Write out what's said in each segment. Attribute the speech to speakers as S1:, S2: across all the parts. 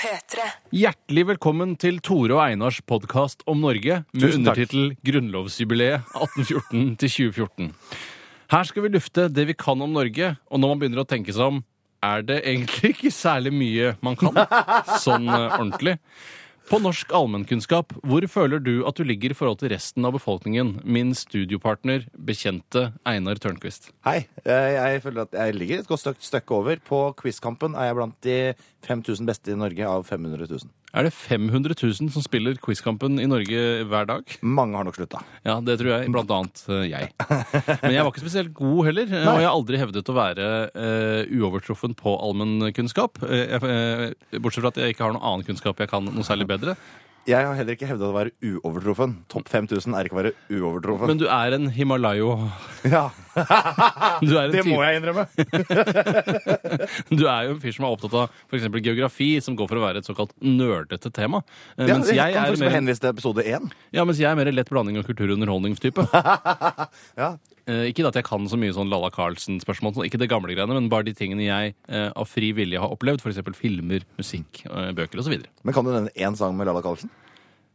S1: P3.
S2: Hjertelig velkommen til Tore og Einars podkast om Norge med
S3: Tusen takk.
S2: undertittel 'Grunnlovsjubileet 1814 til 2014'. Her skal vi lufte det vi kan om Norge, og når man begynner å tenke seg om, er det egentlig ikke særlig mye man kan, sånn eh, ordentlig. På norsk allmennkunnskap, hvor føler du at du ligger i forhold til resten av befolkningen, min studiopartner, bekjente Einar Tørnquist?
S3: Hei. eh, Jeg føler at jeg ligger et godt støk- stykke over. På Quizkampen er jeg blant de 5000 beste i Norge av 500 000.
S2: Er det 500 000 som spiller Quizkampen i Norge hver dag?
S3: Mange har nok slutta.
S2: Ja, det tror jeg. Blant annet eh, jeg. Men jeg var ikke spesielt god heller. eh, Og jeg har aldri hevdet å være eh, uovertruffen på allmennkunnskap. Eh, jeg- eh, bortsett fra at jeg ikke har noen annen kunnskap jeg kan noe særlig bedre.
S3: Jeg har heller ikke hevda å være uovertruffen. Topp 5000 er ikke å være uovertruffen.
S2: Men du er en himalayo.
S3: ja,
S2: Du er, en
S3: Det
S2: type-
S3: må jeg innrømme.
S2: du er jo en fyr som er opptatt av f.eks. geografi, som går for å være et såkalt nerdete tema. Eh,
S3: Ja,
S2: mens,
S3: jeg
S2: jeg
S3: kan
S2: er
S3: faktisk bare
S2: mer,
S3: henvise til episode én.
S2: ja, mens jeg er mer lett blanding av kultur- og underholdningstype.
S3: Ja.
S2: Eh, ikke at jeg kan så mye sånn Lalla Carlsen-spørsmål, sånn, ikke det gamle greiene, men bare de tingene jeg eh, av fri vilje har opplevd, f.eks. filmer, musikk, eh, bøker osv.
S3: Men kan du nevne én sang med Lalla Carlsen?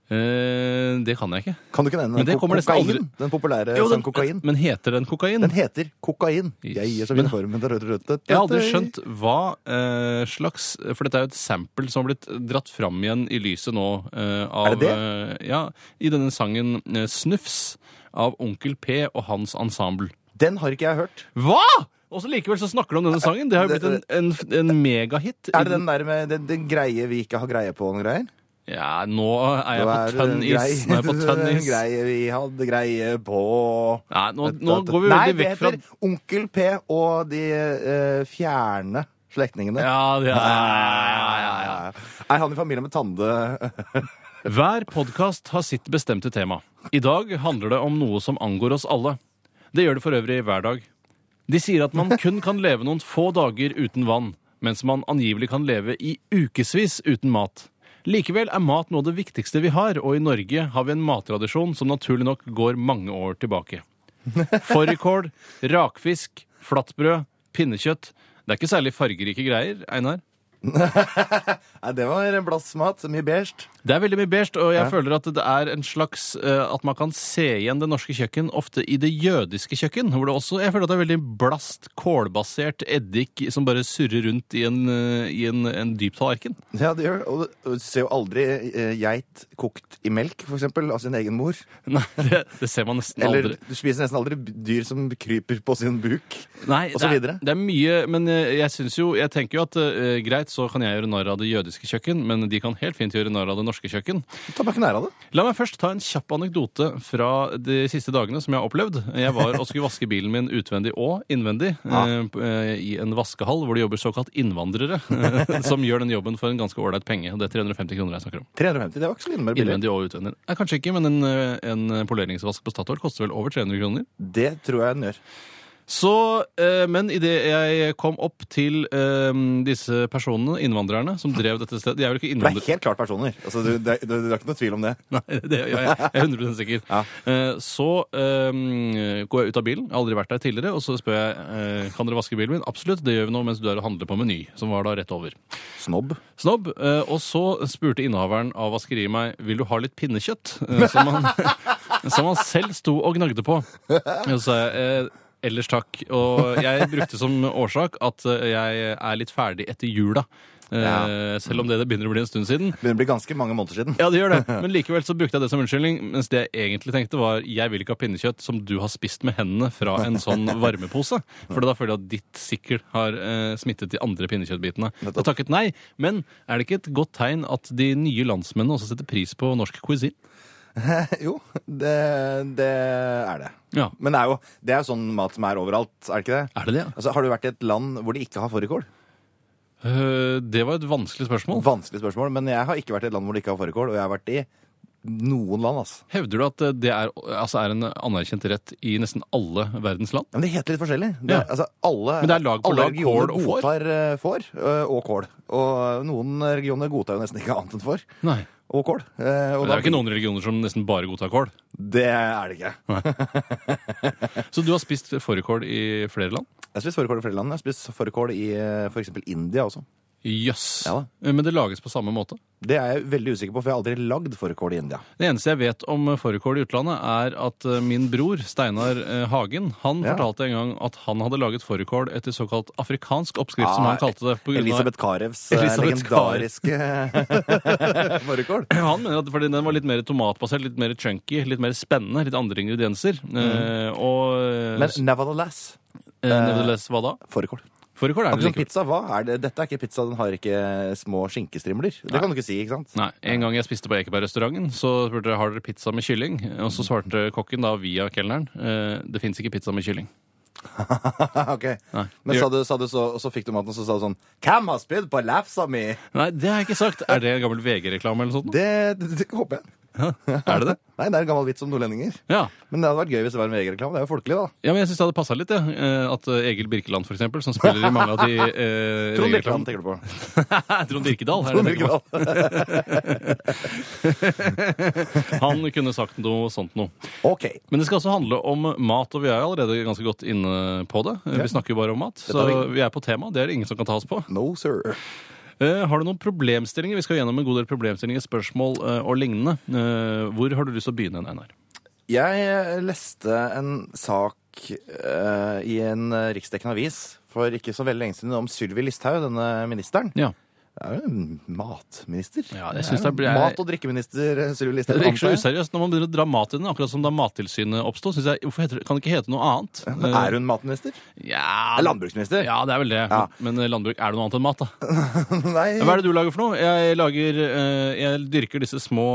S2: Eh, det kan jeg ikke.
S3: Kan du ikke nevne
S2: Men det
S3: ko-
S2: kommer nesten
S3: kokain?
S2: aldri-
S3: Den populære
S2: Jo, den-
S3: sangen sånn Kokain?
S2: Men heter den kokain?
S3: Den heter Kokain. Jeg gir så vidt formen til rødt
S2: jeg har aldri skjønt hva eh, slags For dette er jo et sample som har blitt dratt fram igjen i lyset nå eh, av
S3: Er det det?
S2: eh, ja, i denne sangen eh, Snufs av Onkel P og hans ensemble.
S3: Den har ikke jeg hørt.
S2: Hva?! Og så likevel så snakker du om denne sangen. Det har jo blitt en, en, en megahit.
S3: Er det den der med den, den greie vi ikke har greie på? noen greier?
S2: Ja, nå er jeg
S3: Da
S2: på
S3: er det
S2: tønn is. Nå er jeg på
S3: grei-
S2: tønn is.
S3: Greie vi hadde greie på
S2: Nei, nå, nå går vi
S3: Nei,
S2: veldig
S3: det
S2: vekk fra
S3: heter Onkel P og de eh, fjerne slektningene.
S2: Ja, det er ja, ja, ja.
S3: Er han i familie med Tande?
S2: Hver podkast har sitt bestemte tema. I dag handler det om noe som angår oss alle. Det gjør det for øvrig hver dag. De sier at man kun kan leve noen få dager uten vann, mens man angivelig kan leve i ukevis uten mat. Likevel er mat noe av det viktigste vi har, og i Norge har vi en mattradisjon som naturlig nok går mange år tilbake. Fårikål, rakfisk, flatbrød, pinnekjøtt. Det er ikke særlig fargerike greier, Einar.
S3: Nei, det var en blassmat. Mye beige.
S2: Det er veldig mye beige, og jeg føler at det er en slags eh, At man kan se igjen det norske kjøkken ofte i det jødiske kjøkken. Hvor det også, jeg føler at det er veldig blast, kålbasert eddik som bare surrer rundt i en, eh, i en, en dyp tallerken.
S3: Ja, det gjør det. Og du ser jo aldri eh, geit kokt i melk, for eksempel, av sin egen mor.
S2: Nei, det, det ser man nesten
S3: Eller
S2: aldri.
S3: du spiser nesten aldri dyr som kryper på sin buk.
S2: Nei,
S3: og så
S2: det, er,
S3: videre.
S2: det er mye, men eh, jeg synes jo Jeg tenker jo at eh, greit, så kan jeg gjøre narr av det jødiske kjøkken, men de kan helt fint gjøre narr av det norske kjøkken.
S3: Ta meg ikke nær av det.
S2: La meg først ta en kjapp anekdote fra de siste dagene som jeg har opplevd. Jeg var og skulle vaske bilen min utvendig og innvendig eh, p- eh, i en vaskehall hvor det jobber såkalt innvandrere, eh, som gjør den jobben for en ganske ålreit penge. Og Det er 350 kroner jeg snakker om.
S3: 350, det var ikke så innmari billig.
S2: Innvendig og utvendig. Nei, kanskje ikke, men en, eh, en poleringsvask på Statoil koster vel over 300 kroner.
S3: Det tror jeg den gjør.
S2: Så, eh, Men idet jeg kom opp til eh, disse personene, innvandrerne, som drev dette stedet De er vel ikke
S3: For det
S2: innvandrere?
S3: er helt klart personer. Altså, du, det, du, du har ikke noe tvil om det.
S2: Nei, det, ja, jeg jeg er 100 sikker.
S3: Ja.
S2: Eh, Så eh, går jeg ut av bilen, jeg har aldri vært der tidligere, og så spør jeg eh, kan dere vaske bilen min. Absolutt, det gjør vi nå mens du er og handler på Meny, som var da rett over.
S3: Snobb.
S2: Snobb. eh, Og så spurte innehaveren av vaskeriet meg vil du ha litt pinnekjøtt, Eh, som han, som han selv sto og gnagde på. Og så sa jeg eh, ellers takk. Og jeg brukte som årsak at eh, jeg er litt ferdig etter jula. Eh,
S3: Ja.
S2: Selv om det, det begynner å bli en stund siden.
S3: Begynner å bli ganske mange måneder siden.
S2: Ja, det gjør det. Men likevel så brukte jeg det som unnskyldning. Mens det jeg egentlig tenkte, var jeg vil ikke ha pinnekjøtt som du har spist med hendene fra en sånn varmepose. For da føler jeg at ditt sikkel har eh, smittet de andre pinnekjøttbitene.
S3: Nettopp.
S2: Jeg takket nei. Men er det ikke et godt tegn at de nye landsmennene også setter pris på norsk cuisine?
S3: Jo, det, det er det.
S2: Ja.
S3: Men det er jo det er jo sånn mat som er overalt, er det ikke det?
S2: Er det det?
S3: Altså, Har du vært i et land hvor de ikke har fårikål?
S2: Eh, det var et vanskelig spørsmål.
S3: Vanskelig spørsmål, men jeg har ikke vært i et land hvor de ikke har fårikål. Og jeg har vært i noen land, altså.
S2: Hevder du at eh, det er, altså er en anerkjent rett i nesten alle verdens land?
S3: Ja, Men det heter litt forskjellig. Det,
S2: Ja.
S3: er- altså, alle,
S2: Men det er lag på
S3: alle
S2: lag,
S3: regioner
S2: kål og får.
S3: godtar eh, får eh, og kål. Og noen regioner godtar jo nesten ikke annet enn får
S2: Nei.
S3: og kål. Eh,
S2: Men
S3: og
S2: det er jo ikke noen religioner som nesten bare godtar kål.
S3: det er det ikke.
S2: Så du har spist fårikål i flere land?
S3: Jeg har spist fårikål i flere land. Jeg har spist fårikål i f.eks. eh, India også.
S2: Jøss. Eh,
S3: Ja da.
S2: Men det lages på samme måte?
S3: Det er jeg veldig usikker på, for jeg har aldri lagd fårikål i India.
S2: Det eneste jeg vet om eh, fårikål i utlandet, er at eh, min bror Steinar eh, Hagen han
S3: Ja.
S2: fortalte en gang at han hadde laget fårikål etter såkalt afrikansk oppskrift, som han kalte det. På grunn av,
S3: Ah, Elisabeth Karevs eh,
S2: Elisabeth Karev.
S3: legendariske fårikål.
S2: han mener at fordi den var litt mer tomatbasert, litt mer chunky, litt mer spennende, litt andre ingredienser. Eh, og eh,
S3: Mm. Men nevertheless
S2: eh, nevertheless, hva da?
S3: fårikål.
S2: Fårikål er
S3: Akkurat
S2: det
S3: som
S2: likevel.
S3: pizza. Hva er det? Dette er ikke pizza, den har ikke små skinkestrimler. Det kan du ikke si, ikke sant?
S2: Nei, En gang jeg spiste på Ekebergrestauranten, så spurte jeg har dere pizza med kylling. Og så svarte kokken da via kelneren eh, det fins ikke pizza med kylling.
S3: ok. Men sa du, sa du så, og så fikk du maten, og så sa du sånn Hvem har spydd på lefsa mi?
S2: Nei, det har jeg ikke sagt. Er det en gammel VG-reklame eller noe sånt?
S3: Det, det, det håper jeg.
S2: Er det det?
S3: Nei, det er en gammel vits om nordlendinger.
S2: Ja.
S3: Men det hadde vært gøy hvis det var en VG-reklame. Det er jo folkelig, da.
S2: Ja, men jeg synes det hadde passa litt, jeg. Eh, At eh, Egil Birkeland, for eksempel, som spiller i mange av de eh,
S3: Trond
S2: regler-
S3: Birkeland tenker du på.
S2: Trond Birkedal. Er det
S3: Trond
S2: jeg tenker på.
S3: Birkeland.
S2: Han kunne sagt noe sånt noe.
S3: Ok.
S2: Men det skal også handle om mat, og vi er allerede ganske godt inne på det. Eh, Vi snakker jo bare om mat, så
S3: tar vi.
S2: vi er på tema. Det er det ingen som kan ta oss på.
S3: No, sir.
S2: Eh, Har du noen problemstillinger? Vi skal gjennom en god del problemstillinger, spørsmål eh, og lignende. Eh, Hvor har du lyst til å begynne, Einar?
S3: Jeg eh, leste en sak eh, i en eh, riksdekkende avis for ikke så veldig lenge siden om Sylvi Listhaug, denne ministeren.
S2: Ja.
S3: Det er jo en matminister.
S2: Ja, jeg synes det blir-
S3: Mat- og drikkeminister eh, Sylvi
S2: Det
S3: Listhaug.
S2: virker så
S3: antar jeg.
S2: useriøst når man begynner å dra mat i den, akkurat som da Mattilsynet oppsto. synes jeg, Hvorfor heter det, kan det ikke hete noe annet?
S3: Men
S2: Eh,
S3: Er hun matminister?
S2: Ja,
S3: Er landbruksminister?
S2: Ja, det er vel det.
S3: Ja.
S2: Men men landbruk er det noe annet enn mat, da.
S3: Nei.
S2: Hva er det du lager for noe? Jeg, lager, eh, jeg dyrker disse små,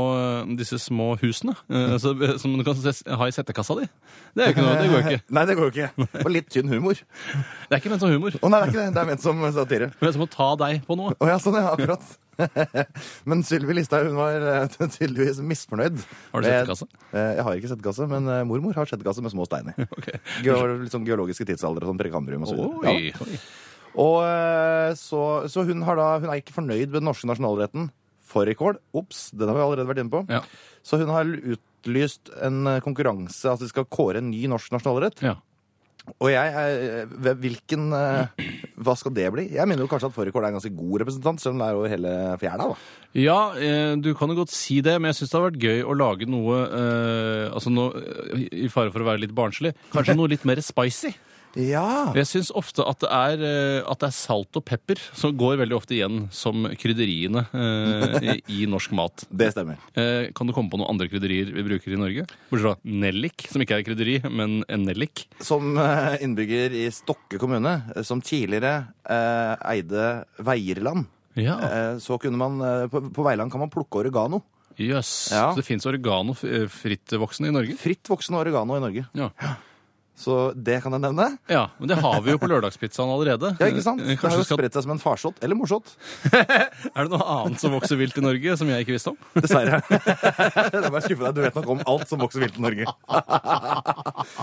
S2: disse små husene eh, så, som du kan se- ha i settekassa di. Det, er jo ikke noe, det går jo ikke.
S3: Nei, det går jo ikke. Det var litt tynn humor. Å
S2: Det er ikke ment som humor.
S3: nei, det er ikke det. Det er ment som satire.
S2: Det er som å ta deg på noe.
S3: Å ja, sånn, ja, akkurat. Men Sylvi Listhaug hun var eh, tydeligvis misfornøyd.
S2: Har du
S3: med-
S2: settekasse?
S3: Eh, Jeg har ikke settekasse, men eh, mormor har settekasse med små steiner.
S2: Ok.
S3: Geo- Litt sånn geologiske tidsalder og sånn prekambrum og så videre.
S2: Oi, oi.
S3: Ja. Og eh, så, så hun, har da, hun er ikke fornøyd med den norske nasjonalretten. Fårikål. Ops, den har vi allerede vært inne på.
S2: Ja.
S3: Så hun har utlyst en eh, konkurranse, altså de skal kåre en ny norsk nasjonalrett.
S2: Ja.
S3: Og jeg er eh, Hvilken eh, Hva skal det bli? Jeg mener jo kanskje at fårikål er en ganske god representant, selv om det er over hele fjæra, da.
S2: ja, eh, du kan jo godt si det, men jeg syns det hadde vært gøy å lage noe eh, altså noe, eh, I fare for å være litt barnslig, kanskje noe litt mer spicy.
S3: Ja!
S2: Jeg syns ofte at det, er, eh, at det er salt og pepper som går veldig ofte igjen som krydderiene eh, i i norsk mat.
S3: Det stemmer.
S2: Eh, Kan du komme på noen andre krydderier vi bruker i Norge? Bortsett fra nellik, som ikke er krydderi, men en nellik.
S3: Som eh, innbygger i Stokke kommune, eh, som tidligere eh, eide Veierland,
S2: Ja,
S3: eh, så kunne man eh, på, på Veiland kan man plukke oregano.
S2: Jøss.
S3: Ja.
S2: Så det fins oregano eh, fritt voksende i Norge?
S3: Fritt voksende oregano i Norge.
S2: Ja.
S3: Så det kan jeg nevne.
S2: ja, Men det har vi jo på lørdagspizzaen allerede.
S3: Ja, ikke sant?
S2: Eh,
S3: Det har
S2: Kanskje
S3: jo
S2: du skal...
S3: spredt seg som en farsott. Eller morsott.
S2: Er det noe annet som vokser vilt i Norge som jeg ikke visste om?
S3: Dessverre. det må jeg skuffe deg. Du vet nok om alt som vokser vilt i Norge.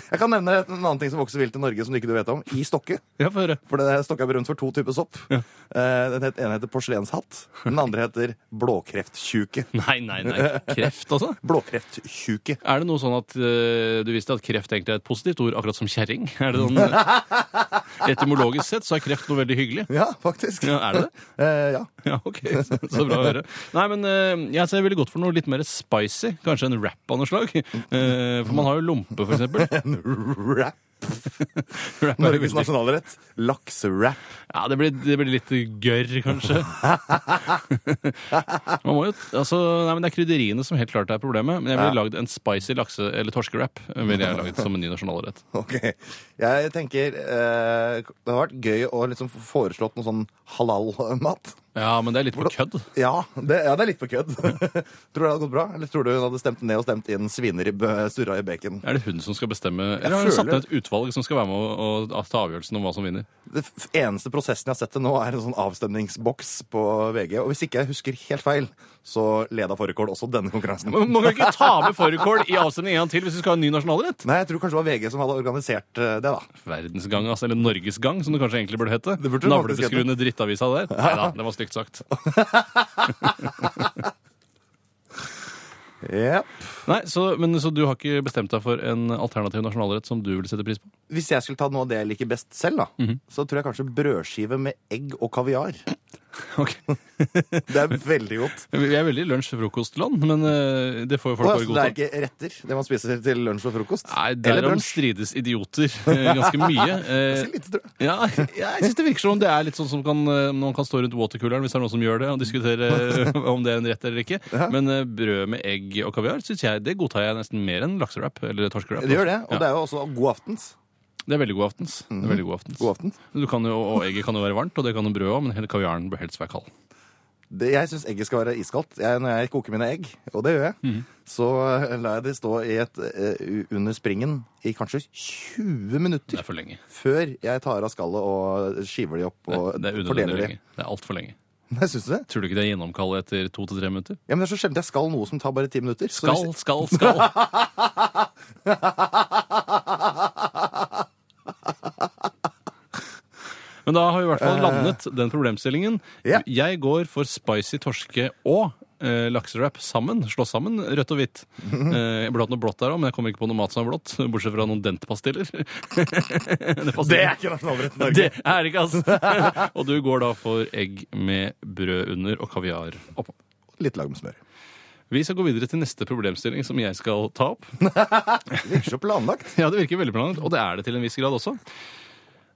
S3: jeg kan nevne en annen ting som vokser vilt i Norge som du ikke vet om. I Stokke.
S2: Ja, få høre.
S3: For det Stokke er berømt for to typer sopp. Eh, Den het- ene heter porselenshatt. Den andre heter blåkrefttjuke.
S2: Nei, nei, nei. Kreft, altså?
S3: Blåkrefttjuke.
S2: Er det noe sånn at eh, du visste at kreft egentlig er et positivt ord, akkurat som kjerring? Er det sånn, etymologisk sett så er kreft noe veldig hyggelig.
S3: Ja, faktisk.
S2: Ja, er det det?
S3: Eh, ja.
S2: Ja, ok. Så, så bra å høre. Nei, men eh, jeg ser veldig godt for noe litt mer spicy. Kanskje en wrap av noe slag. Eh, for man har jo lompe, for eksempel.
S3: Rap.
S2: Wrap er jo
S3: Norges
S2: veldig-
S3: nasjonalrett. Laksewrap.
S2: Ja, det blir, det blir litt gørr, kanskje. Man må jo, altså, nei, men Det er krydderiene som helt klart er problemet. Men jeg ville
S3: Ja.
S2: lagd en spicy lakse- eller torskerap. Ville jeg lagd som en ny nasjonalrett.
S3: Ok. Jeg tenker eh, Det har vært gøy å liksom få foreslått noe sånn halal-mat.
S2: Ja, men det er litt på kødd.
S3: Ja, det, ja, det er litt på kødd. tror du det hadde gått bra? Eller tror du hun hadde stemt ned og stemt inn svineribbe surra i bacon?
S2: Er det hun som skal bestemme? Eller har hun satt
S3: føler-
S2: ned et utvalg som skal være med og, og ta avgjørelsen om hva som vinner?
S3: Det f- eneste prosessen jeg har sett til nå, er en sånn avstemningsboks på VG. Og hvis ikke jeg husker helt feil, så leda Fårikål også denne konkurransen.
S2: Man kan ikke ta med fårikål i avstemning en gang til hvis du skal ha en ny nasjonalrett!
S3: Nei, jeg tror kanskje det var VG som hadde organisert eh, det, da.
S2: Verdensgang, altså. Eller Norgesgang, som det kanskje egentlig burde hete.
S3: Det burde det faktisk hete.
S2: Navlebeskruende drittavisa der. Nei da, det var stygt sagt.
S3: Yep.
S2: Nei, så, men, så du har ikke bestemt deg for en alternativ nasjonalrett som du vil sette pris på? Mhm.
S3: Hvis jeg skulle ta noe av det jeg liker best selv, da, så tror jeg kanskje brødskive med egg og kaviar.
S2: Ok.
S3: Det er veldig godt.
S2: Vi er veldig lunsj-frokostland, men eh, det får jo folk
S3: Å, ja,
S2: bare
S3: så det er
S2: godta.
S3: ikke retter, det man spiser til lunsj og frokost?
S2: Nei,
S3: Eller
S2: derom
S3: brunsj?
S2: strides idioter eh, ganske mye. Eh,
S3: Ganske lite, tror jeg.
S2: Ja, jeg synes det virker som om det er litt sånn som kan, eh, man kan stå rundt watercooleren hvis det er noen som gjør det, og diskutere eh, om det er en rett eller ikke. Men eh, brød med egg og kaviar synes jeg, det godtar jeg nesten mer enn lakserap eller torskerap.
S3: Det gjør det, og
S2: Ja.
S3: det er jo også god aftens.
S2: Det er veldig god aftens. Det er veldig Mhm. god aftens.
S3: God aften.
S2: Du kan jo, og egget kan jo være varmt, og det kan jo brødet òg, men hele kaviaren bør helst være kald.
S3: Det, jeg syns egget skal være iskaldt. Jeg, når jeg koker mine egg, og det gjør jeg,
S2: Mhm.
S3: så eh, lar jeg de stå i et, eh, u- under springen i kanskje 20
S2: Det
S3: minutter
S2: er for lenge.
S3: før jeg tar av skallet og skiver de opp og
S2: Det er unødvendig
S3: fordeler de.
S2: lenge. Det er altfor lenge.
S3: Nei, syns du det?
S2: Tror du ikke det er gjennomkallet etter to til tre minutter?
S3: Ja, men Det er så sjelden jeg skal noe som tar bare ti minutter. så
S2: Skal,
S3: hvis-
S2: skal, skal. Men da har vi i hvert fall landet den problemstillingen.
S3: Eh. Ja.
S2: Jeg går for spicy torske og eh, lakserap sammen. Slå sammen rødt og hvitt. Eh, jeg burde hatt noe blått der òg, men jeg kommer ikke på noe mat som er blått. Bortsett fra noen dentpastiller. det, passer ikke.
S3: Det er ikke nasjonalrett i Norge.
S2: det er ikke, altså! og du går da for egg med brød under og kaviar oppå.
S3: Litt lag med smør.
S2: Vi skal gå videre til neste problemstilling, som jeg skal ta opp.
S3: Det virker så planlagt.
S2: Ja, det virker veldig planlagt, og det er det til en viss grad også.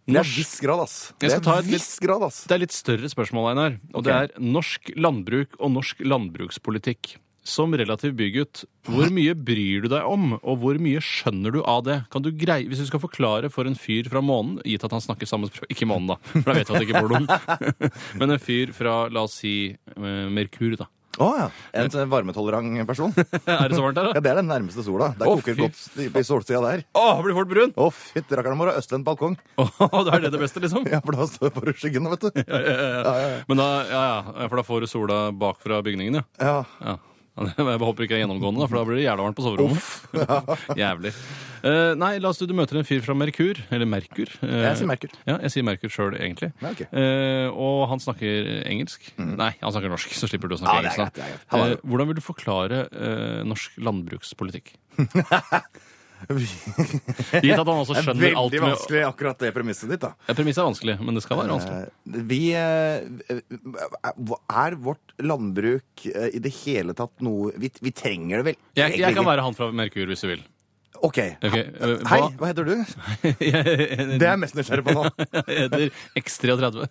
S3: Det er viss grad, ass.
S2: Jeg
S3: Det
S2: skal ta
S3: er
S2: et litt-
S3: viss grad, ass.
S2: Det er litt større spørsmål, Einar, og det er norsk landbruk og norsk landbrukspolitikk. Som relativ bygutt, hvor mye bryr du deg om, og hvor mye skjønner du av det? Kan du greie, Hvis du skal forklare for en fyr fra månen, gitt at han snakker samme språk Ikke månen, da, for da vet vi at det ikke bor noen. Men en fyr fra, la oss si, eh, Merkur, da.
S3: Å ja. En sånn varmetolerant person.
S2: Er det så varmt der,
S3: Ja,
S2: da?
S3: Det er den nærmeste sola. Der
S2: Å,
S3: koker
S2: fy
S3: det godt i- i solsida der.
S2: Å, blir fort brun!
S3: Å, fytti rakkeren, må du ha østvendt balkong.
S2: Åh, da er det det beste, liksom?
S3: Ja, for da står det bare skyggen, vet du.
S2: Ja, ja, ja. Men da, ja, ja, for da får du sola bakfra bygningen, ja.
S3: Ja.
S2: Ja. Jeg håper ikke det er gjennomgående, da, for da blir det jævla varmt på soverommet. Jævlig. Eh, nei, la oss si du møter en fyr fra Merkur. Eller Merkur. eh,
S3: Jeg sier Merkur.
S2: Ja, jeg sier Merkur sjøl, egentlig.
S3: Ja, ok. Mm.
S2: Eh, og han snakker engelsk. Nei, han snakker norsk, så slipper du å snakke
S3: Ja, det er
S2: engelsk.
S3: greit, det er greit.
S2: da.
S3: Hallo.
S2: Eh, hvordan vil du forklare eh, norsk landbrukspolitikk? Gitt at han også
S3: Det er
S2: skjønner alt
S3: veldig
S2: med
S3: vanskelig, akkurat det premisset ditt, da.
S2: ja, Premisset er vanskelig, men det skal være vanskelig.
S3: Eh, Vi eh, Er vårt landbruk eh, i det hele tatt noe Vi, vi trenger det vel
S2: Jeg, jeg kan
S3: egentlig?
S2: være han fra Merkur, hvis du vil.
S3: OK.
S2: Ok, eh,
S3: Hei,
S2: hva- Eh,
S3: hva heter du?
S2: Jeg
S3: Det er jeg mest nysgjerrig på nå.
S2: heter X33.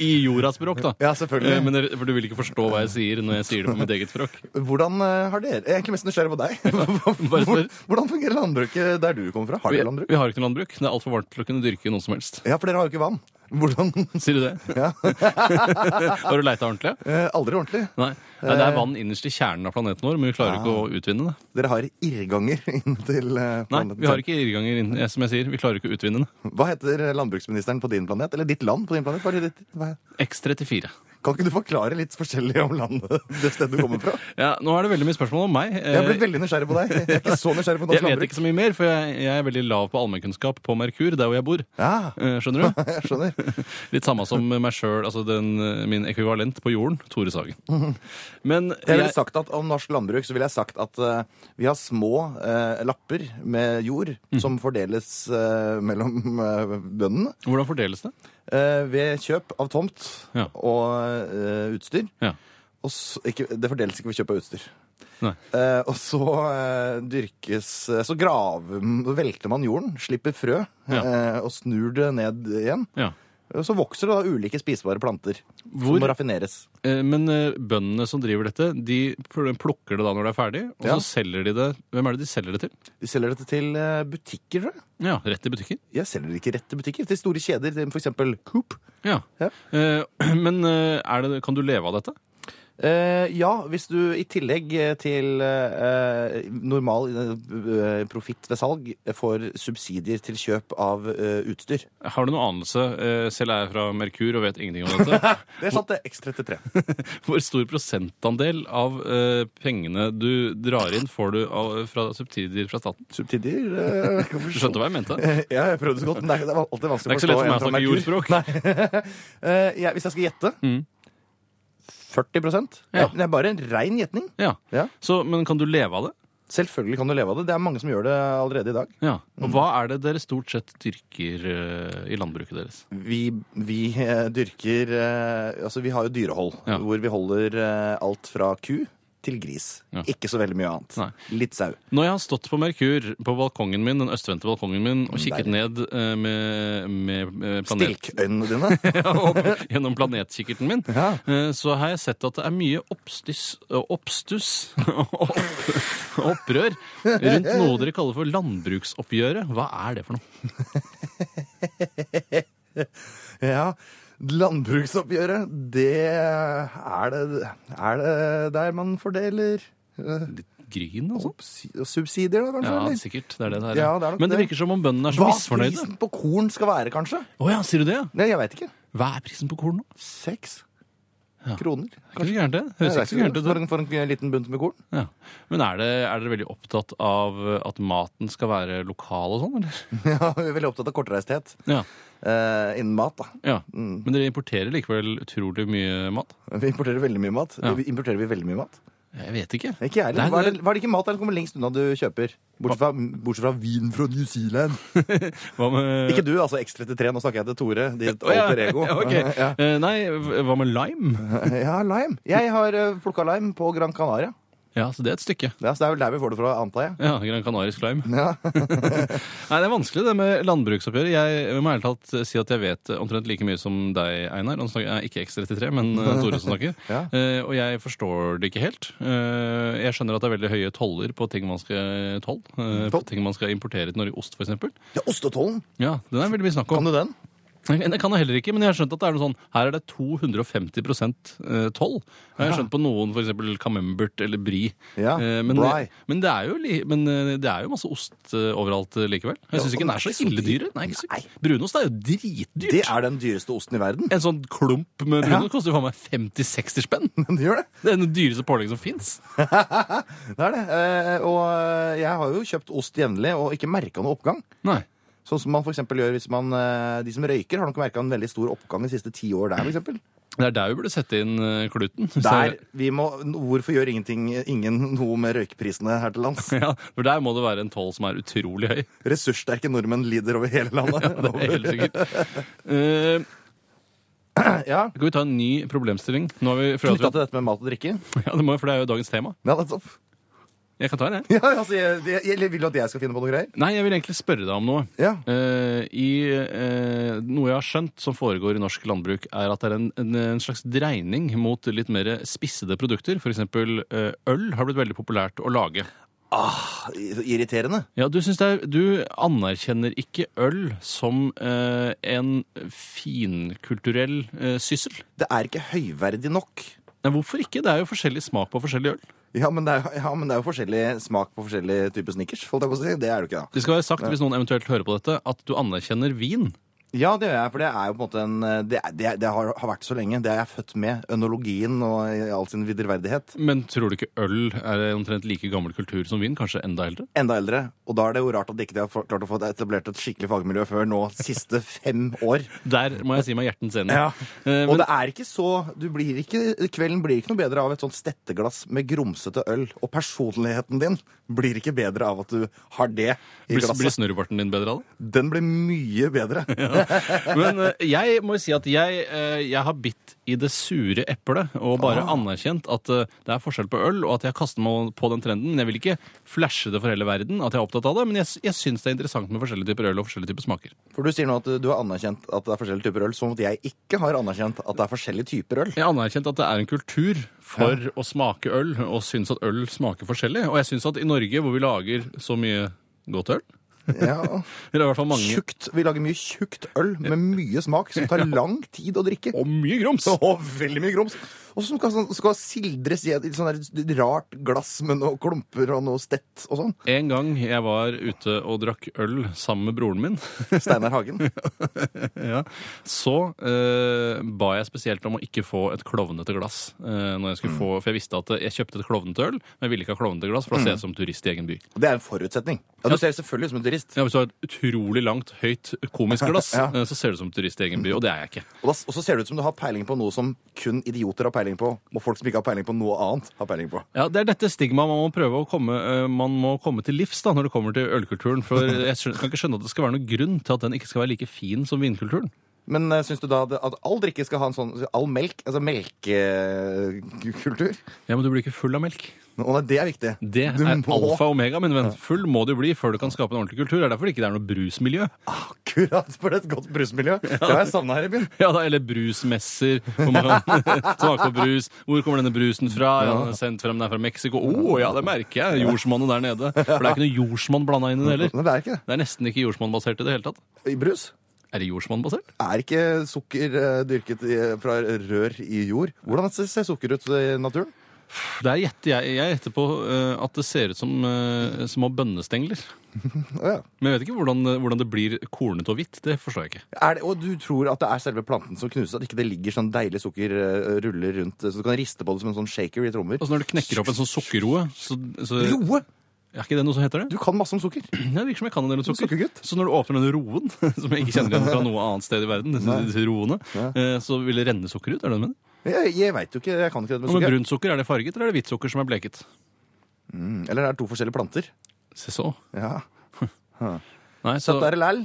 S2: I jordaspråk, da.
S3: Ja, selvfølgelig.
S2: Eh, Men dere- for du vil ikke forstå hva jeg sier når jeg sier det på mitt eget språk.
S3: Hvordan eh, har dere Jeg er egentlig mest nysgjerrig på deg.
S2: Bare spør.
S3: Hvordan fungerer landbruket der du kommer fra? Har
S2: Vi,
S3: dere landbruk?
S2: vi har ikke noe landbruk. Det er altfor varmt til å kunne dyrke noe som helst.
S3: Ja, for dere har jo ikke vann. Hvordan
S2: Sier du det?
S3: Ja.
S2: Har du leita ordentlig?
S3: Eh, Aldri ordentlig.
S2: Nei. Nei, Det er vann innerst i kjernen av planeten vår, men vi klarer ikke å utvinne det.
S3: Dere har irrganger inn til
S2: Nei,
S3: eh, planeten.
S2: vi har ikke irrganger, inn- eh, som jeg sier. Vi klarer ikke å utvinne det.
S3: Hva heter eh, landbruksministeren på din planet? Eller ditt land på din planet? Hva er det ditt? Hva?
S2: X34.
S3: Kan ikke du forklare litt forskjellig om landet det stedet du kommer fra?
S2: Ja, nå er det veldig mye spørsmål om meg.
S3: Jeg har
S2: Eh,
S3: blitt veldig nysgjerrig på deg. Jeg er ikke så nysgjerrig på
S2: Jeg
S3: norsk
S2: vet
S3: landbruk.
S2: ikke så mye mer, for jeg, jeg er veldig lav på allmennkunnskap på Merkur, der hvor jeg bor.
S3: Ja,
S2: Eh, Skjønner du?
S3: jeg skjønner.
S2: Litt samme som meg sjøl, altså den, min ekvivalent på jorden, Tore Sagen. Men
S3: Jeg ville
S2: jeg,
S3: sagt at Om norsk landbruk så ville jeg sagt at eh, vi har små eh, lapper med jord
S2: Mm.
S3: som fordeles eh, mellom eh, bøndene
S2: hvordan fordeles det?
S3: eh, ved kjøp av tomt
S2: Ja.
S3: og eh, utstyr.
S2: Ja.
S3: Og så, ikke, det fordeles ikke ved kjøp av utstyr.
S2: Nei.
S3: Eh, og så eh, dyrkes eh, Så graver velter man jorden, slipper frø,
S2: Ja.
S3: eh, og snur det ned igjen.
S2: Ja.
S3: Og så vokser det da ulike spisbare planter
S2: Hvor-
S3: som må raffineres.
S2: Eh, Men eh, bøndene som driver dette, de pl- plukker det da når det er ferdig, og
S3: Ja.
S2: så selger de det Hvem er det de selger det til?
S3: De selger dette til eh, butikker, tror jeg.
S2: Ja, Rett i butikker?
S3: Jeg selger det ikke rett til butikker, til store kjeder, til f.eks. Coop.
S2: Ja.
S3: Ja.
S2: Eh, Men eh, er det, kan du leve av dette?
S3: Eh, ja, hvis du i tillegg eh, til eh, normal eh, profitt ved salg eh, får subsidier til kjøp av eh, utstyr.
S2: Har du noen anelse? eh, Selv er jeg fra Merkur og vet ingenting om dette.
S3: Det er sant, det. X33.
S2: Hvor stor prosentandel av eh, pengene du drar inn, får du av, fra subsidier fra staten?
S3: Subsidier eh, kan
S2: Du
S3: forstå.
S2: skjønte hva jeg mente?
S3: Ja, jeg prøvde så godt, men det er, det er alltid
S2: Det
S3: vanskelig
S2: er
S3: å
S2: ikke så lett
S3: forstå.
S2: for meg å snakke
S3: en fra
S2: jordspråk.
S3: Merkur. Nei. Eh, jeg- hvis jeg skal gjette 40
S2: Ja.
S3: Det er bare en rein gjetning.
S2: Ja.
S3: Ja.
S2: Så, men kan du leve av det?
S3: Selvfølgelig kan du leve av det. Det er mange som gjør det allerede i dag.
S2: Ja. Og hva er det dere stort sett dyrker eh, i landbruket deres?
S3: Vi, vi eh, dyrker eh, Altså, vi har jo dyrehold,
S2: Ja.
S3: hvor vi holder eh, alt fra ku til gris.
S2: Ja.
S3: Ikke så veldig mye annet.
S2: Nei.
S3: Litt sau.
S2: Når jeg har stått på Merkur, på balkongen min, den østvendte balkongen min, og kikket
S3: Der.
S2: ned eh, med, med eh, planet,
S3: Stilkøynene dine.
S2: ja, og, gjennom planetkikkerten min,
S3: Ja.
S2: eh, så har jeg sett at det er mye oppstuss, oppstuss og opp- opprør rundt noe dere kaller for landbruksoppgjøret. Hva er det for noe?
S3: ja. Landbruksoppgjøret, det er det, er det der man fordeler eh,
S2: Gryn og sånn?
S3: subsi- subsidier, da, kanskje?
S2: Ja,
S3: eller?
S2: sikkert. Det er det det er.
S3: Ja, det er nok
S2: Men det
S3: det.
S2: virker som om bøndene er så
S3: Hva
S2: misfornøyde.
S3: prisen på korn skal være, kanskje?
S2: Å ja, sier du det? ja?
S3: Nei, jeg veit ikke.
S2: Hva er prisen på korn nå?
S3: Seks kroner?
S2: Er ikke så gærent det?
S3: Nei,
S2: Høres
S3: det er
S2: ikke så
S3: ikke
S2: gærent
S3: det.
S2: ut.
S3: For, en- for en liten bunt med korn?
S2: Ja. Men er, det, er dere veldig opptatt av eh, at maten skal være lokal og sånn, eller?
S3: Ja, vi er veldig opptatt av kortreisthet
S2: Ja.
S3: eh, innen mat, da.
S2: ja.
S3: Mm.
S2: Men dere importerer likevel utrolig mye mat?
S3: Vi importerer veldig mye mat.
S2: Ja.
S3: Vi importerer vi veldig mye mat?
S2: Jeg vet ikke.
S3: Ikke jeg
S2: Nei,
S3: heller. Hva, er
S2: det-
S3: det- hva er det ikke mat der som kommer lengst unna du kjøper? Bortsett fra, bortsett fra vin fra New Zealand.
S2: Hva med
S3: Ikke du, altså X33. Nå snakker jeg til Tore, ditt
S2: Eh. Å, ja.
S3: alter ego.
S2: Ja, ok.
S3: ja.
S2: Eh, Nei, hva med lime?
S3: ja, lime. Jeg har plukka lime på Gran Canaria.
S2: Ja, så det er et stykke.
S3: Ja, så det er vel der vi får det fra, antar jeg.
S2: Ja, Gran Canarisk lime.
S3: Ja.
S2: Nei, Det er vanskelig det med landbruksoppgjøret. Jeg må ærlig talt si at jeg vet omtrent like mye som deg, Einar. Nå snakker, jeg- ikke X33, men eh, Tore som snakker.
S3: Ja.
S2: Eh, og jeg forstår det ikke helt. Eh, jeg skjønner at det er veldig høye toller på ting man skal toll, eh,
S3: Toll.
S2: på ting man skal importere til Norge. Ost, f.eks.
S3: ja, Ostetollen!
S2: Ja, den er veldig mye snakk
S3: Kan
S2: om.
S3: du den?
S2: Nei, Det kan jeg heller ikke, men jeg har skjønt at det er noe sånn her er det 250 eh, toll. Jeg har skjønt på noen, f.eks. camembert eller brie.
S3: Ja,
S2: Eh, men,
S3: brie.
S2: men, det er jo, li- men eh, det er jo masse ost eh, overalt eh, likevel. Jeg syns
S3: Ja,
S2: ikke den er så ille dyr. Nei, ikke så- Brunost er jo dritdyrt.
S3: Det er den dyreste osten i verden.
S2: En sånn klump med brunost koster jo faen meg 50-60 spenn.
S3: Den gjør det.
S2: Det er den dyreste pålegget som fins.
S3: det er det. Eh, Og eh, jeg har jo kjøpt ost jevnlig og ikke merka noe oppgang.
S2: Nei.
S3: Sånn som man for eksempel gjør hvis man eh, De som røyker, har nok merka en veldig stor oppgang de siste ti år der, for eksempel.
S2: Det er der vi burde sette inn eh, kluten. Så-
S3: Der vi må Hvorfor gjør ingenting ingen noe med røykprisene her til lands?
S2: Ja, for der må det være en toll som er utrolig høy.
S3: Ressurssterke nordmenn lider over hele landet.
S2: Det er helt sikkert. Eh,
S3: ja,
S2: Skal vi ta en ny problemstilling? Nå har vi for
S3: Knytta til dette med mat og drikke?
S2: Ja, det må jeg, for det er jo dagens tema.
S3: Ja, nettopp.
S2: Jeg kan ta den, jeg.
S3: Ja, altså, jeg, jeg, jeg vil du at jeg skal finne på noe greier?
S2: Nei, jeg vil egentlig spørre deg om noe.
S3: Ja.
S2: Eh, I eh, noe jeg har skjønt som foregår i norsk landbruk, er at det er en, en, en slags dreining mot litt mer spissede produkter. F.eks. Uh, øl har blitt veldig populært å lage.
S3: Irriterende.
S2: Ja, du, synes det er, du anerkjenner ikke øl som eh, en finkulturell eh, syssel.
S3: Det er ikke høyverdig nok.
S2: Nei, hvorfor ikke? Det er jo forskjellig smak på forskjellig øl.
S3: Ja, men det er, ja, men det er jo forskjellig smak på forskjellig type snickers. holdt jeg på å si. Det er det jo ikke, da.
S2: Det skal være sagt, hvis noen eventuelt hører på dette, at du anerkjenner vin.
S3: Ja, det gjør jeg, for det er jo på en måte en eh, Det, er- det, er- det har, har vært så lenge. Det er jeg født med. Ønologien og i all sin viderverdighet.
S2: Men tror du ikke øl er omtrent like gammel kultur som vin? Kanskje enda eldre?
S3: Enda eldre. Og da er det jo rart at de ikke har fått- klart å få etablert et skikkelig fagmiljø før nå, siste fem år.
S2: Der må jeg si meg hjertens enig. Eh,
S3: Og
S2: men,
S3: det er ikke så du blir ikke, Kvelden blir ikke noe bedre av et sånt stetteglass med grumsete øl. Og personligheten din blir ikke bedre av at du har det i
S2: blir, blir
S3: glasset.
S2: snørrbarten din bedre av det?
S3: Den blir mye bedre.
S2: Men eh, jeg må jo si at jeg, eh, jeg har bitt i det sure eplet og bare
S3: Ah.
S2: anerkjent at eh, det er forskjell på øl, og at jeg kaster meg på den trenden. Men jeg vil ikke flashe det for hele verden at jeg er opptatt av det, men jeg, jeg syns det er interessant med forskjellige typer øl og forskjellige typer smaker.
S3: For du sier nå at du har anerkjent at det er forskjellige typer øl, som at jeg ikke har anerkjent at det er forskjellige typer øl.
S2: Jeg har anerkjent at det er en kultur for å smake øl, og syns at øl smaker forskjellig. Og jeg syns at i Norge, hvor vi lager så mye godt øl
S3: Ja.
S2: Eller i hvert fall mange
S3: Tjukt. Vi lager mye tjukt øl med mye smak som tar lang tid å drikke.
S2: Og mye grums!
S3: Og veldig mye grums. Og som skal, sånn- skal sildres i et litt sånn der rart glass med noen klumper og noe stett og sånn.
S2: En gang jeg var ute og drakk øl sammen med broren min,
S3: Steinar Hagen.
S2: så eh, ba jeg spesielt om å ikke få et klovnete glass. eh, når jeg skulle få, For jeg visste at jeg kjøpte et klovnete øl, men jeg ville ikke ha klovnete glass, for da ser jeg ut som turist i egen by.
S3: Det er en forutsetning. Ja, du ser selvfølgelig ut som en turist.
S2: Ja, Hvis du har et utrolig langt, høyt, komisk glass,
S3: Ja.
S2: eh, så ser du ut som turist i egen by, og det er jeg ikke.
S3: Og, da, og så ser det ut som du har peiling på noe som kun idioter har peiling på, må folk som ikke har peiling på noe annet, ha peiling på.
S2: Ja, Det er dette stigmaet man må prøve å komme, eh, man må komme til livs da, når det kommer til ølkulturen. For jeg skjønner, kan ikke skjønne at det skal være noen grunn til at den ikke skal være like fin som vinkulturen.
S3: Men uh, syns du da det- at all drikke skal ha en sånn All melk? Altså melkekultur?
S2: Ja, Men du blir ikke full av melk.
S3: Å nei, det er viktig.
S2: Det
S3: Du
S2: er
S3: må-
S2: alfa og omega, min venn. Full må du bli før du kan skape en ordentlig kultur. Det er derfor det ikke er noe brusmiljø.
S3: Akkurat for et godt brusmiljø. Det har jeg savna her i byen.
S2: Ja, da, Eller brusmesser, hvor man kan smake på brus. Hvor kommer denne brusen fra? Ja, den er sendt frem den er fra Mexico. Å ja, det merker jeg! Jordsmonnet der nede. For det er ikke noe jordsmonn blanda inn i det heller.
S3: Nei, det er ikke det.
S2: Det er nesten ikke jordsmonnbasert i det hele tatt.
S3: I brus?
S2: Er det jordsmonnbasert?
S3: Er ikke sukker eh, dyrket i, fra rør i jord? Hvordan ser ser sukker ut i naturen?
S2: Der gjetter jeg, jeg gjetter på eh, at det ser ut som eh, små bønnestengler.
S3: Å, ja.
S2: Men jeg vet ikke hvordan, hvordan det blir kornete og hvitt. Det forstår jeg ikke.
S3: Er det, og du tror at det er selve planten som knuses? At ikke det ligger sånn deilig sukker eh, ruller rundt, eh, så du kan riste på det som en sånn shaker i trommer?
S2: Altså Når du knekker opp en sånn sukkerroe, så, så
S3: Roe!
S2: er ikke det noe som heter det?
S3: Du kan masse om sukker.
S2: Ja, det virker som jeg kan en del om sukker.
S3: Sukkergutt.
S2: Så når du åpner denne roen, som jeg ikke kjenner igjen fra noe annet sted i verden, disse, disse roene, eh, så vil det renne sukker ut? er det det du mener?
S3: Jeg, jeg veit jo ikke. Jeg kan ikke det med
S2: Og med
S3: sukker.
S2: brunt sukker, er det farget, eller er det hvitt sukker som er bleket?
S3: Eller er det to forskjellige planter?
S2: Se så.
S3: Ja.
S2: Nei, så
S3: Søtt er det læl.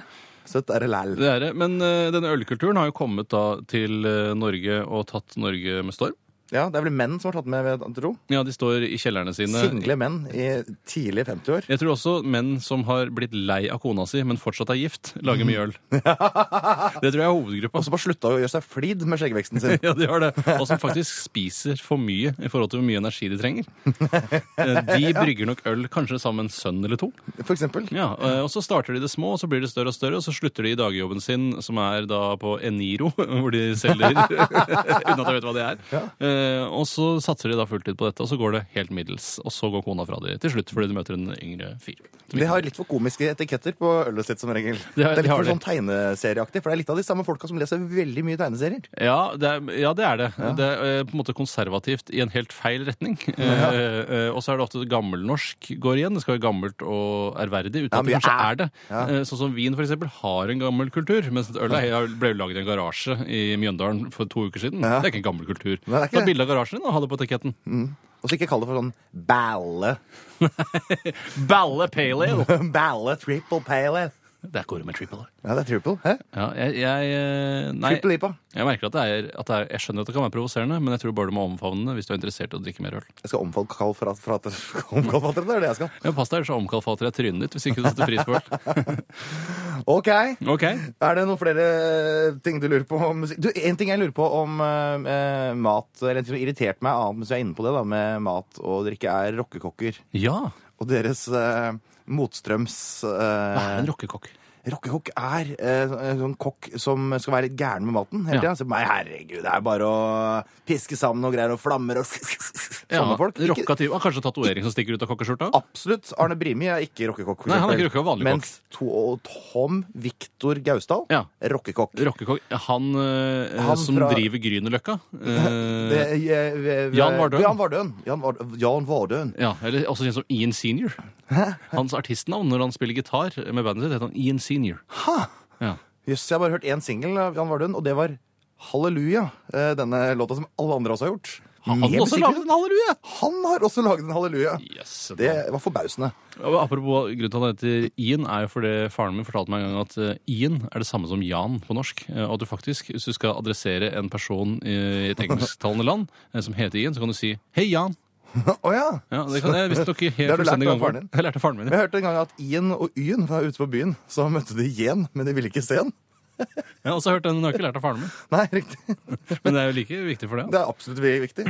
S3: Søtt er det læl.
S2: det er det. Men eh, denne ølkulturen har jo kommet da til eh, Norge og tatt Norge med storm.
S3: Ja, det er vel menn som har tatt med, ved tro.
S2: Ja, de står i kjellerne sine.
S3: Single menn i tidlig 50-år.
S2: Jeg tror også menn som har blitt lei av kona si, men fortsatt er gift, lager mye øl. Det tror jeg er hovedgruppa.
S3: Og som har slutta å gjøre seg flid med skjeggveksten sin.
S2: Ja, de har det. Og som faktisk spiser for mye i forhold til hvor mye energi de trenger. Eh, De brygger nok øl kanskje sammen en sønn eller to.
S3: For eksempel.
S2: Ja, eh, Og så starter de det små, og så blir det større og større, og så slutter de i dagjobben sin, som er da på Eniro, hvor de selger Uten at jeg vet hva det er. Eh, Og så satser de da fulltid på dette, og så går det helt middels. Og så går kona fra de til slutt fordi de møter en yngre fyr. som
S3: De har litt for komiske etiketter på ølet sitt som regel.
S2: De har-
S3: det
S2: de
S3: er litt
S2: har
S3: for
S2: det.
S3: sånn tegneserieaktig, for det er litt av de samme folka som leser veldig mye tegneserier.
S2: Ja, det er ja, det. Er det. det er eh, på en måte konservativt i en helt feil retning. Eh, eh, og så er det ofte gammelnorsk går igjen. Det skal være gammelt og ærverdig, uten
S3: Ja,
S2: at det
S3: mye
S2: kanskje
S3: æ.
S2: er det. Eh, sånn som vin, for eksempel, har en gammel kultur. Mens øl er- ble jo laget i en garasje i Mjøndalen for to uker siden. Det er ikke en gammel kultur.
S3: Nei, det er ikke
S2: Ta
S3: det.
S2: bilde av garasjen din og ha det på etiketten.
S3: Og så ikke kall det for sånn balle.
S2: Balle pale ale!
S3: balle, triple pale ale.
S2: Der går det med triple ale.
S3: Ja, det er triple. Hæ?
S2: Ja, jeg, jeg, eh, nei,
S3: Triple IPA.
S2: jeg merker at det er, at det er Jeg skjønner at det kan være provoserende, men jeg tror bare du må omfavne det hvis du er interessert i å drikke mer øl.
S3: Jeg skal omkalfatre fra, fra, omkalfatre, det er det jeg skal.
S2: Ja, Pass deg, ellers så omkalfatrer jeg trynet ditt hvis ikke du setter pris på øl.
S3: Ok.
S2: Ok.
S3: Er det noen flere eh, ting du lurer på om musikk? Du, en ting jeg lurer på om eh, eh, mat, eller en ting som irriterte meg annet mens jeg er inne på det da, med mat og drikke, er rockekokker.
S2: Ja.
S3: Og deres eh, motstrøms... eh,
S2: Hva er en rockekokk?
S3: Rockekokk er eh, en sånn kokk som skal være litt gæren med maten hele
S2: Ja.
S3: tiden. Så Nei, herregud, det er bare å piske sammen noen greier og flammer og sånne folk. Ikke-
S2: Rocka type. Ah, kanskje tatovering som stikker ut av kokkeskjorta?
S3: Absolutt. Arne Brimi er ikke rockekokk. for
S2: Nei, han er ikke
S3: eksempel.
S2: rockekokk, vanlig kokk.
S3: Mens to, og Tom Viktor Gausdal,
S2: Ja.
S3: rockekokk.
S2: Rockekokk. Han, eh,
S3: Han
S2: som
S3: fra-
S2: driver Grünerløkka. Eh,
S3: Det- eh, eh, eh,
S2: Jan Vardøen.
S3: Jan Vardøen. Jan Vard- Jan Vardøen.
S2: ja, eller også kjent som Ian Senior. Hans artistnavn når han spiller gitar med bandet sitt, heter han Ian Senior. Ja.
S3: Jøss, jeg har bare hørt én singel av Jan Vardøen, og det var Halleluja. eh, Denne låta som alle andre også har gjort.
S2: Han
S3: Med
S2: har også
S3: musikkvideo.
S2: laget en halleluja!
S3: Han har også laget en halleluja.
S2: Yes,
S3: Det var forbausende.
S2: Ja, men Apropos grunnen til at han heter Ian, er jo fordi faren min fortalte meg en gang at eh, Ian er det samme som Jan på norsk. Eh, Og at du faktisk, hvis du skal adressere en person i et engelsktalende land eh, som heter Ian, så kan du si 'Hei, Jan'.
S3: Å ja.
S2: Ja, det kan jeg visstnok ikke
S3: Det
S2: helt
S3: har du lært
S2: fullstendig
S3: av
S2: gang
S3: faren din?
S2: Jeg lærte av faren min.
S3: Men
S2: ja.
S3: Jeg hørte en gang at Ian og Y-en var ute på byen, så møtte de Jen, men de ville ikke se den.
S2: Jeg har også hørt den, men jeg har ikke lært av faren min.
S3: Nei, riktig.
S2: Men det er jo like viktig for det.
S3: Det er absolutt viktig.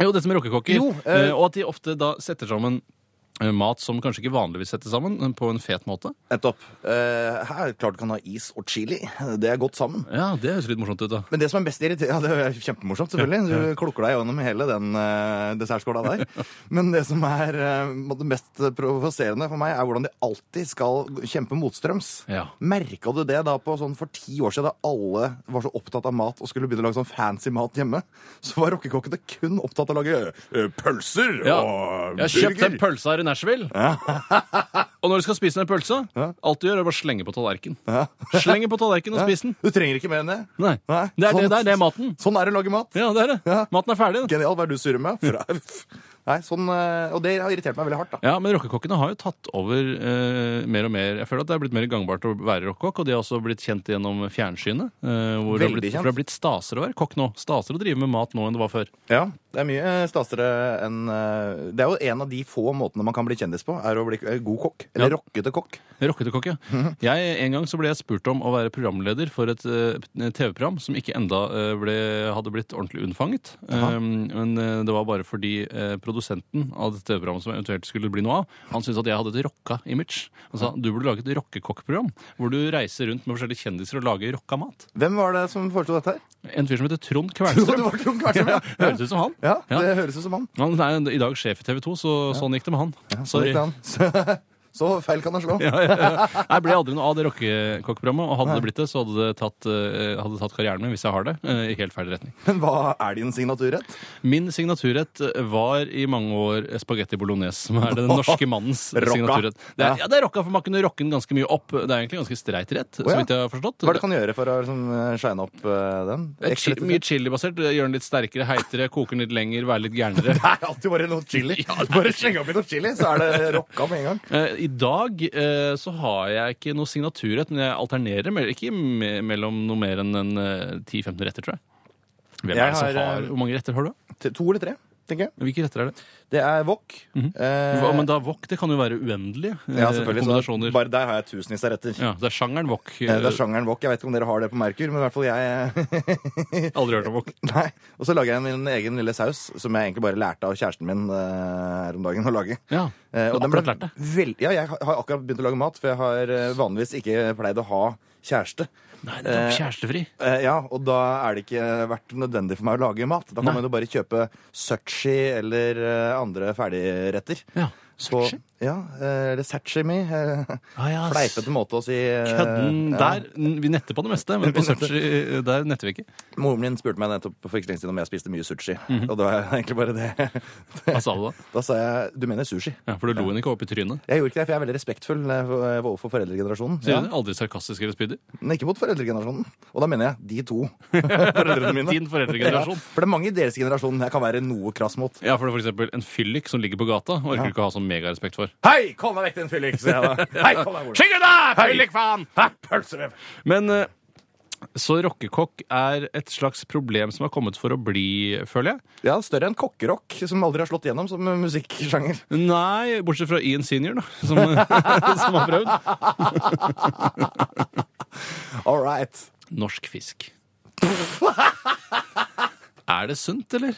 S2: Jo, dette med rockekokker.
S3: Jo, eh,
S2: eh, Og at de ofte da setter sammen eh, mat som kanskje ikke vanligvis settes sammen, men på en fet måte.
S3: Nettopp. Eh, her er det klart du kan ha is og chili. Det er godt sammen.
S2: Ja, det høres litt morsomt ut, da.
S3: Men det som er mest irriterende Ja, det er kjempemorsomt, selvfølgelig. Du klukker deg gjennom hele den eh, dessertskåla der. Men det som er eh, det mest provoserende for meg, er hvordan de alltid skal kjempe motstrøms.
S2: Ja.
S3: Merka du det da på sånn for ti år siden, da alle var så opptatt av mat og skulle begynne å lage sånn fancy mat hjemme? Så var rockekokkene kun opptatt av å lage eh, pølser
S2: Ja.
S3: og
S2: Jeg har kjøpt den pølsa her i i Nashville. og når du skal spise en pølse, alt du gjør, er bare slenge på tallerkenen. Slenge på tallerkenen og spise den.
S3: Du trenger ikke mer enn det.
S2: Nei.
S3: Nei,
S2: Det er
S3: sånn-
S2: det der, det er maten.
S3: Sånn er det å lage mat.
S2: Ja, det er det.
S3: Ja.
S2: Maten er ferdig. den.
S3: Genial, hva er det du surrer med? Fra... Nei, sånn, eh, og det har irritert meg veldig hardt. da.
S2: Ja, men rockekokkene har jo tatt over eh, mer og mer. Jeg føler at det er blitt mer gangbart å være rockekokk, og de har også blitt kjent gjennom fjernsynet. eh, hvor det har
S3: Veldig
S2: blitt, For
S3: kjent.
S2: det har blitt stasere å være kokk nå. Stasere å drive med mat nå enn det var før.
S3: Ja, Det er mye eh, stasere enn eh, Det er jo en av de få måtene man kan bli kjendis på, er å bli eh, god kokk. Eller
S2: Ja.
S3: rockete kokk.
S2: Rockete kokk, ja. Jeg, en gang så ble jeg spurt om å være programleder for et eh, TV-program som ikke enda eh, ble, hadde blitt ordentlig unnfanget. Um, men eh, det var bare fordi eh, produsenten av dette TV-programmet som eventuelt skulle bli noe av, han syntes at jeg hadde et rocka image. Han sa du burde lage et rockekokkprogram hvor du reiser rundt med forskjellige kjendiser og lager rocka mat.
S3: Hvem var det som foreslo dette her?
S2: En fyr som heter Trond
S3: Så det
S2: Kvernstrøm.
S3: var Trond Kvartsen,
S2: Ja,
S3: ja.
S2: Høres ut som han.
S3: ja,
S2: Ja.
S3: det høres ut som han.
S2: Han er i dag sjef i TV 2, så sånn gikk det med han.
S3: Så,
S2: Sorry.
S3: likte han. Så, så feil kan han slå.
S2: ja, ja, ja. Jeg ble aldri noe av det rockekokkprogrammet, og hadde det blitt det, så hadde det tatt, eh, hadde tatt karrieren min, hvis jeg har det, eh, i helt feil retning.
S3: Men hva er din signaturrett?
S2: Min signaturrett eh, var i mange år spagetti bolognese, som er den norske mannens
S3: Rocka.
S2: signaturrett. Det er,
S3: Ja.
S2: ja, det er rocka, for man kunne rocke den ganske mye opp. Det er egentlig en ganske streit rett,
S3: ja.
S2: så vidt jeg har forstått.
S3: Hva er det du kan gjøre for å liksom, eh, shine opp eh, den?
S2: Det er
S3: Ekstra
S2: chi- Mye chilibasert. Gjøre den litt sterkere, heitere, koke den litt lenger, være litt gærnere.
S3: Det er alltid bare noe chili. bare slenge oppi noe chili, så er det rocka med en gang.
S2: Eh, I dag eh, så har jeg ikke noe signaturrett, men jeg alternerer mell- ikke me mellom noe mer enn en, eh, 10-15 retter, tror jeg. Hvem er
S3: Jeg
S2: det som
S3: har,
S2: har,
S3: eh,
S2: hvor mange retter har du?
S3: Til To eller tre, tenker jeg.
S2: Hvilke retter er det?
S3: Det er wok. eh,
S2: Mhm. Hva, men da wok, det kan jo være uendelige eh,
S3: ja, selvfølgelig. Så
S2: kombinasjoner.
S3: bare der har jeg tusenvis av retter.
S2: Ja, det er sjangeren wok.
S3: Eh, Det er sjangeren wok. Jeg vet ikke om dere har det på Merkur, men i hvert fall jeg
S2: eh, Aldri hørt om wok.
S3: Nei. Og så lager jeg min egen lille saus, som jeg egentlig bare lærte av kjæresten min eh, her om dagen å lage.
S2: Ja,
S3: Eh,
S2: du har
S3: den ble
S2: akkurat lært det.
S3: veld- Ja, jeg har har akkurat begynt å lage mat, for jeg har eh, vanligvis ikke pleid å ha kjæreste.
S2: Nei, det er kjærestefri.
S3: Eh, ja, og da er det ikke vært nødvendig for meg å lage mat. Da kan
S2: Nei.
S3: man jo bare kjøpe sushi eller eh, andre ferdigretter.
S2: Ja,
S3: Så-
S2: sushi?
S3: Ja, eh, eller sashimi. eh,
S2: Ah, ja, s-
S3: Fleipete måte å si eh,
S2: Kødden
S3: ja.
S2: der. n- Vi netter på det meste, men på Searchy eh, der netter vi ikke.
S3: Moren min spurte meg nettopp for ikke så lenge siden om jeg spiste mye sushi. Og det var egentlig bare det.
S2: Hva sa du da?
S3: Mhm. Da sa jeg du mener sushi.
S2: Altså, Ja, for du lo henne ikke opp i trynet.
S3: Jeg gjorde ikke det, for jeg er veldig respektfull eh, for- eh, overfor foreldregenerasjonen.
S2: Sier du det? Aldri sarkastisk eller spydig.
S3: Men ikke mot foreldregenerasjonen. Og da mener jeg de to. Foreldrene mine.
S2: Din foreldregenerasjon.
S3: Ja, for det er mange i deres generasjon jeg kan være noe krass mot.
S2: Ja, for det er for eksempel en fyllik som ligger på gata, orker du ikke å ha sånn megarespekt for.
S3: Hei, kom deg vekk, din fyllik! sier jeg da. Hei, kom deg bort!
S2: Skygge deg, fyllikfaen!
S3: Hæ, pølsevev!
S2: Men eh, så rockekokk er et slags problem som har kommet for å bli, føler jeg.
S3: Ja, større enn kokkerock, som aldri har slått gjennom som musikksjanger.
S2: Nei, bortsett fra Ian Senior, da, som, som har prøvd.
S3: All right.
S2: Norsk fisk. Er det sunt, eller?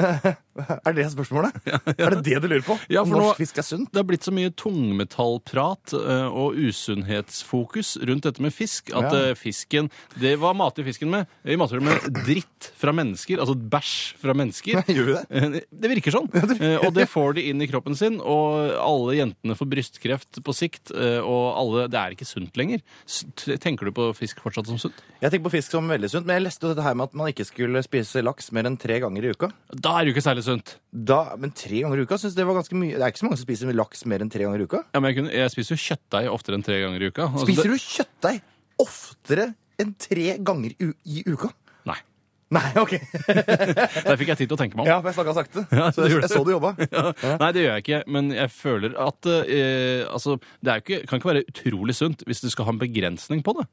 S3: Er det spørsmålet? Er det det du lurer på?
S2: Ja,
S3: Om
S2: for nå-
S3: Norsk fisk er sunt?
S2: Det har blitt så mye tungmetallprat eh, og usunnhetsfokus rundt dette med fisk at
S3: Ja.
S2: eh, fisken Det Hva mater vi fisken med? Vi mater den med dritt fra mennesker, altså bæsj fra mennesker.
S3: Gjør vi det?
S2: Eh, Det virker sånn. Eh, Og det får de inn i kroppen sin, og alle jentene får brystkreft på sikt, eh, og alle Det er ikke sunt lenger. S- t- Tenker du på fisk fortsatt som sunt?
S3: Jeg tenker på fisk som veldig sunt, men jeg leste jo dette her med at man ikke skulle spise laks mer enn tre ganger i uka.
S2: Da er det jo ikke særlig sunt.
S3: Da, men tre ganger i uka synes jeg det var ganske mye. Det er ikke så mange som spiser laks mer enn tre ganger i uka.
S2: Ja, men jeg, kunne, jeg spiser jo kjøttdeig oftere enn tre ganger i uka. Altså,
S3: Spiser
S2: det-
S3: du kjøttdeig oftere enn tre ganger u i uka?
S2: Nei.
S3: Nei, ok.
S2: Der fikk jeg tid til å tenke meg om.
S3: Ja, for jeg snakka sakte.
S2: Ja,
S3: så
S2: det
S3: jeg,
S2: gjorde
S3: jeg så du jobba.
S2: Nei, det gjør jeg ikke, men jeg føler at eh, altså, det er jo ikke, kan ikke være utrolig sunt hvis du skal ha en begrensning på det.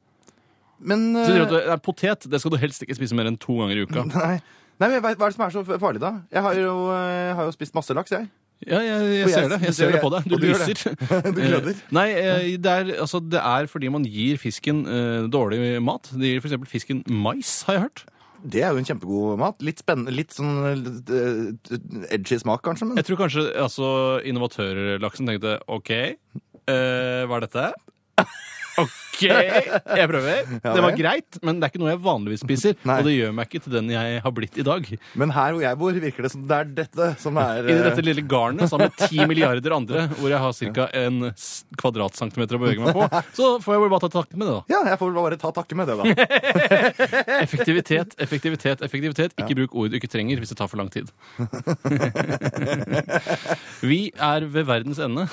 S3: Men
S2: Så sier du
S3: eh,
S2: at det er Potet det skal du helst ikke spise mer enn to ganger i uka.
S3: Nei. Nei, men jeg vet, Hva er det som er så farlig, da? Jeg har jo, eh, har jo spist masse laks, jeg.
S2: Ja, jeg, jeg
S3: Og
S2: ser
S3: jeg-
S2: det. Jeg ser det på deg. Du
S3: og du gjør
S2: lyser.
S3: Du gløder.
S2: Eh, Nei, eh, det er, altså, det er fordi man gir fisken eh, dårlig mat. De gir f.eks. fisken mais, har jeg hørt.
S3: Det er jo en kjempegod mat. Litt spennende, litt sånn eh, edgy smak, kanskje. Men
S2: Jeg tror kanskje altså, innovatørlaksen tenkte OK, eh, hva er dette? OK, jeg prøver. Det var
S3: vel.
S2: greit, men det er ikke noe jeg vanligvis spiser.
S3: Nei.
S2: Og det gjør meg ikke til den jeg har blitt i dag.
S3: Men her hvor jeg bor, virker det som det er dette som er
S2: Inni
S3: eh,
S2: dette lille garnet sammen med ti milliarder andre, hvor jeg har ca. en s- kvadratcentimeter å bevege meg på, så får jeg vel bare ta takk med det, da.
S3: Ja, jeg får vel bare ta takke med det, da.
S2: Effektivitet, effektivitet, effektivitet. Ikke bruk ord du ikke trenger hvis det tar for lang tid. Vi er ved verdens ende.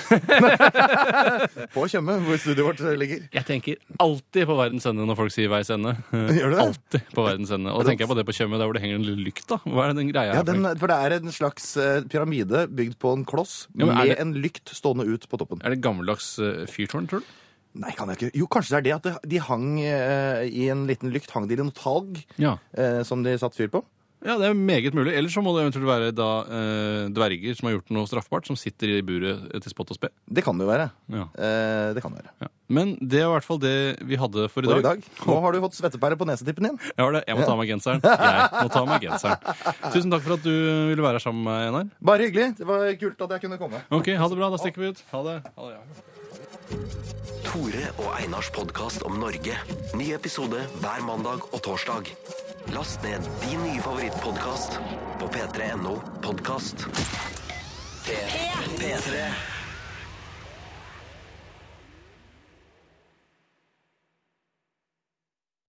S3: På Tjøme, hvor studioet vårt ligger.
S2: Jeg tenker alltid på verdens ende når folk sier veis ende.
S3: Gjør du det?
S2: Alltid på verdens ende. Og da tenker jeg på det på Tjøme, der hvor det henger en lille lykta. Hva er den greia?
S3: Ja,
S2: her for
S3: den,
S2: noe?
S3: for det er en slags eh, pyramide bygd på en kloss
S2: Ja, men er
S3: med
S2: det-
S3: en lykt stående ut på toppen.
S2: Er det gammeldags eh, fyrtårn, tror du?
S3: Nei, kan jeg ikke Jo, kanskje det er det at det- de hang eh, i en liten lykt hang de i noe talg
S2: Ja.
S3: eh, som de satte fyr på.
S2: ja, det er meget mulig. Ellers så må det eventuelt være da eh, dverger som har gjort noe straffbart, som sitter i buret eh, til spott og spe.
S3: Det kan det jo være.
S2: Ja.
S3: Eh, det kan det være.
S2: Ja. Men det er i hvert fall det vi hadde for i
S3: For
S2: dag.
S3: i dag, nå har du fått svettepære på nesetippen din.
S2: Jeg, har det. jeg må ta av meg genseren. Jeg må ta av meg genseren. Tusen takk for at du ville være her sammen med meg, Einar.
S3: Bare hyggelig. Det var kult at jeg kunne komme.
S2: Ok, ha det bra. Da stikker vi ut. Ha det. Ha det ja.
S1: Tore og Einars podkast om Norge. Ny episode hver mandag og torsdag. Last ned din nye favorittpodkast på p3.no podkast. P3. P3.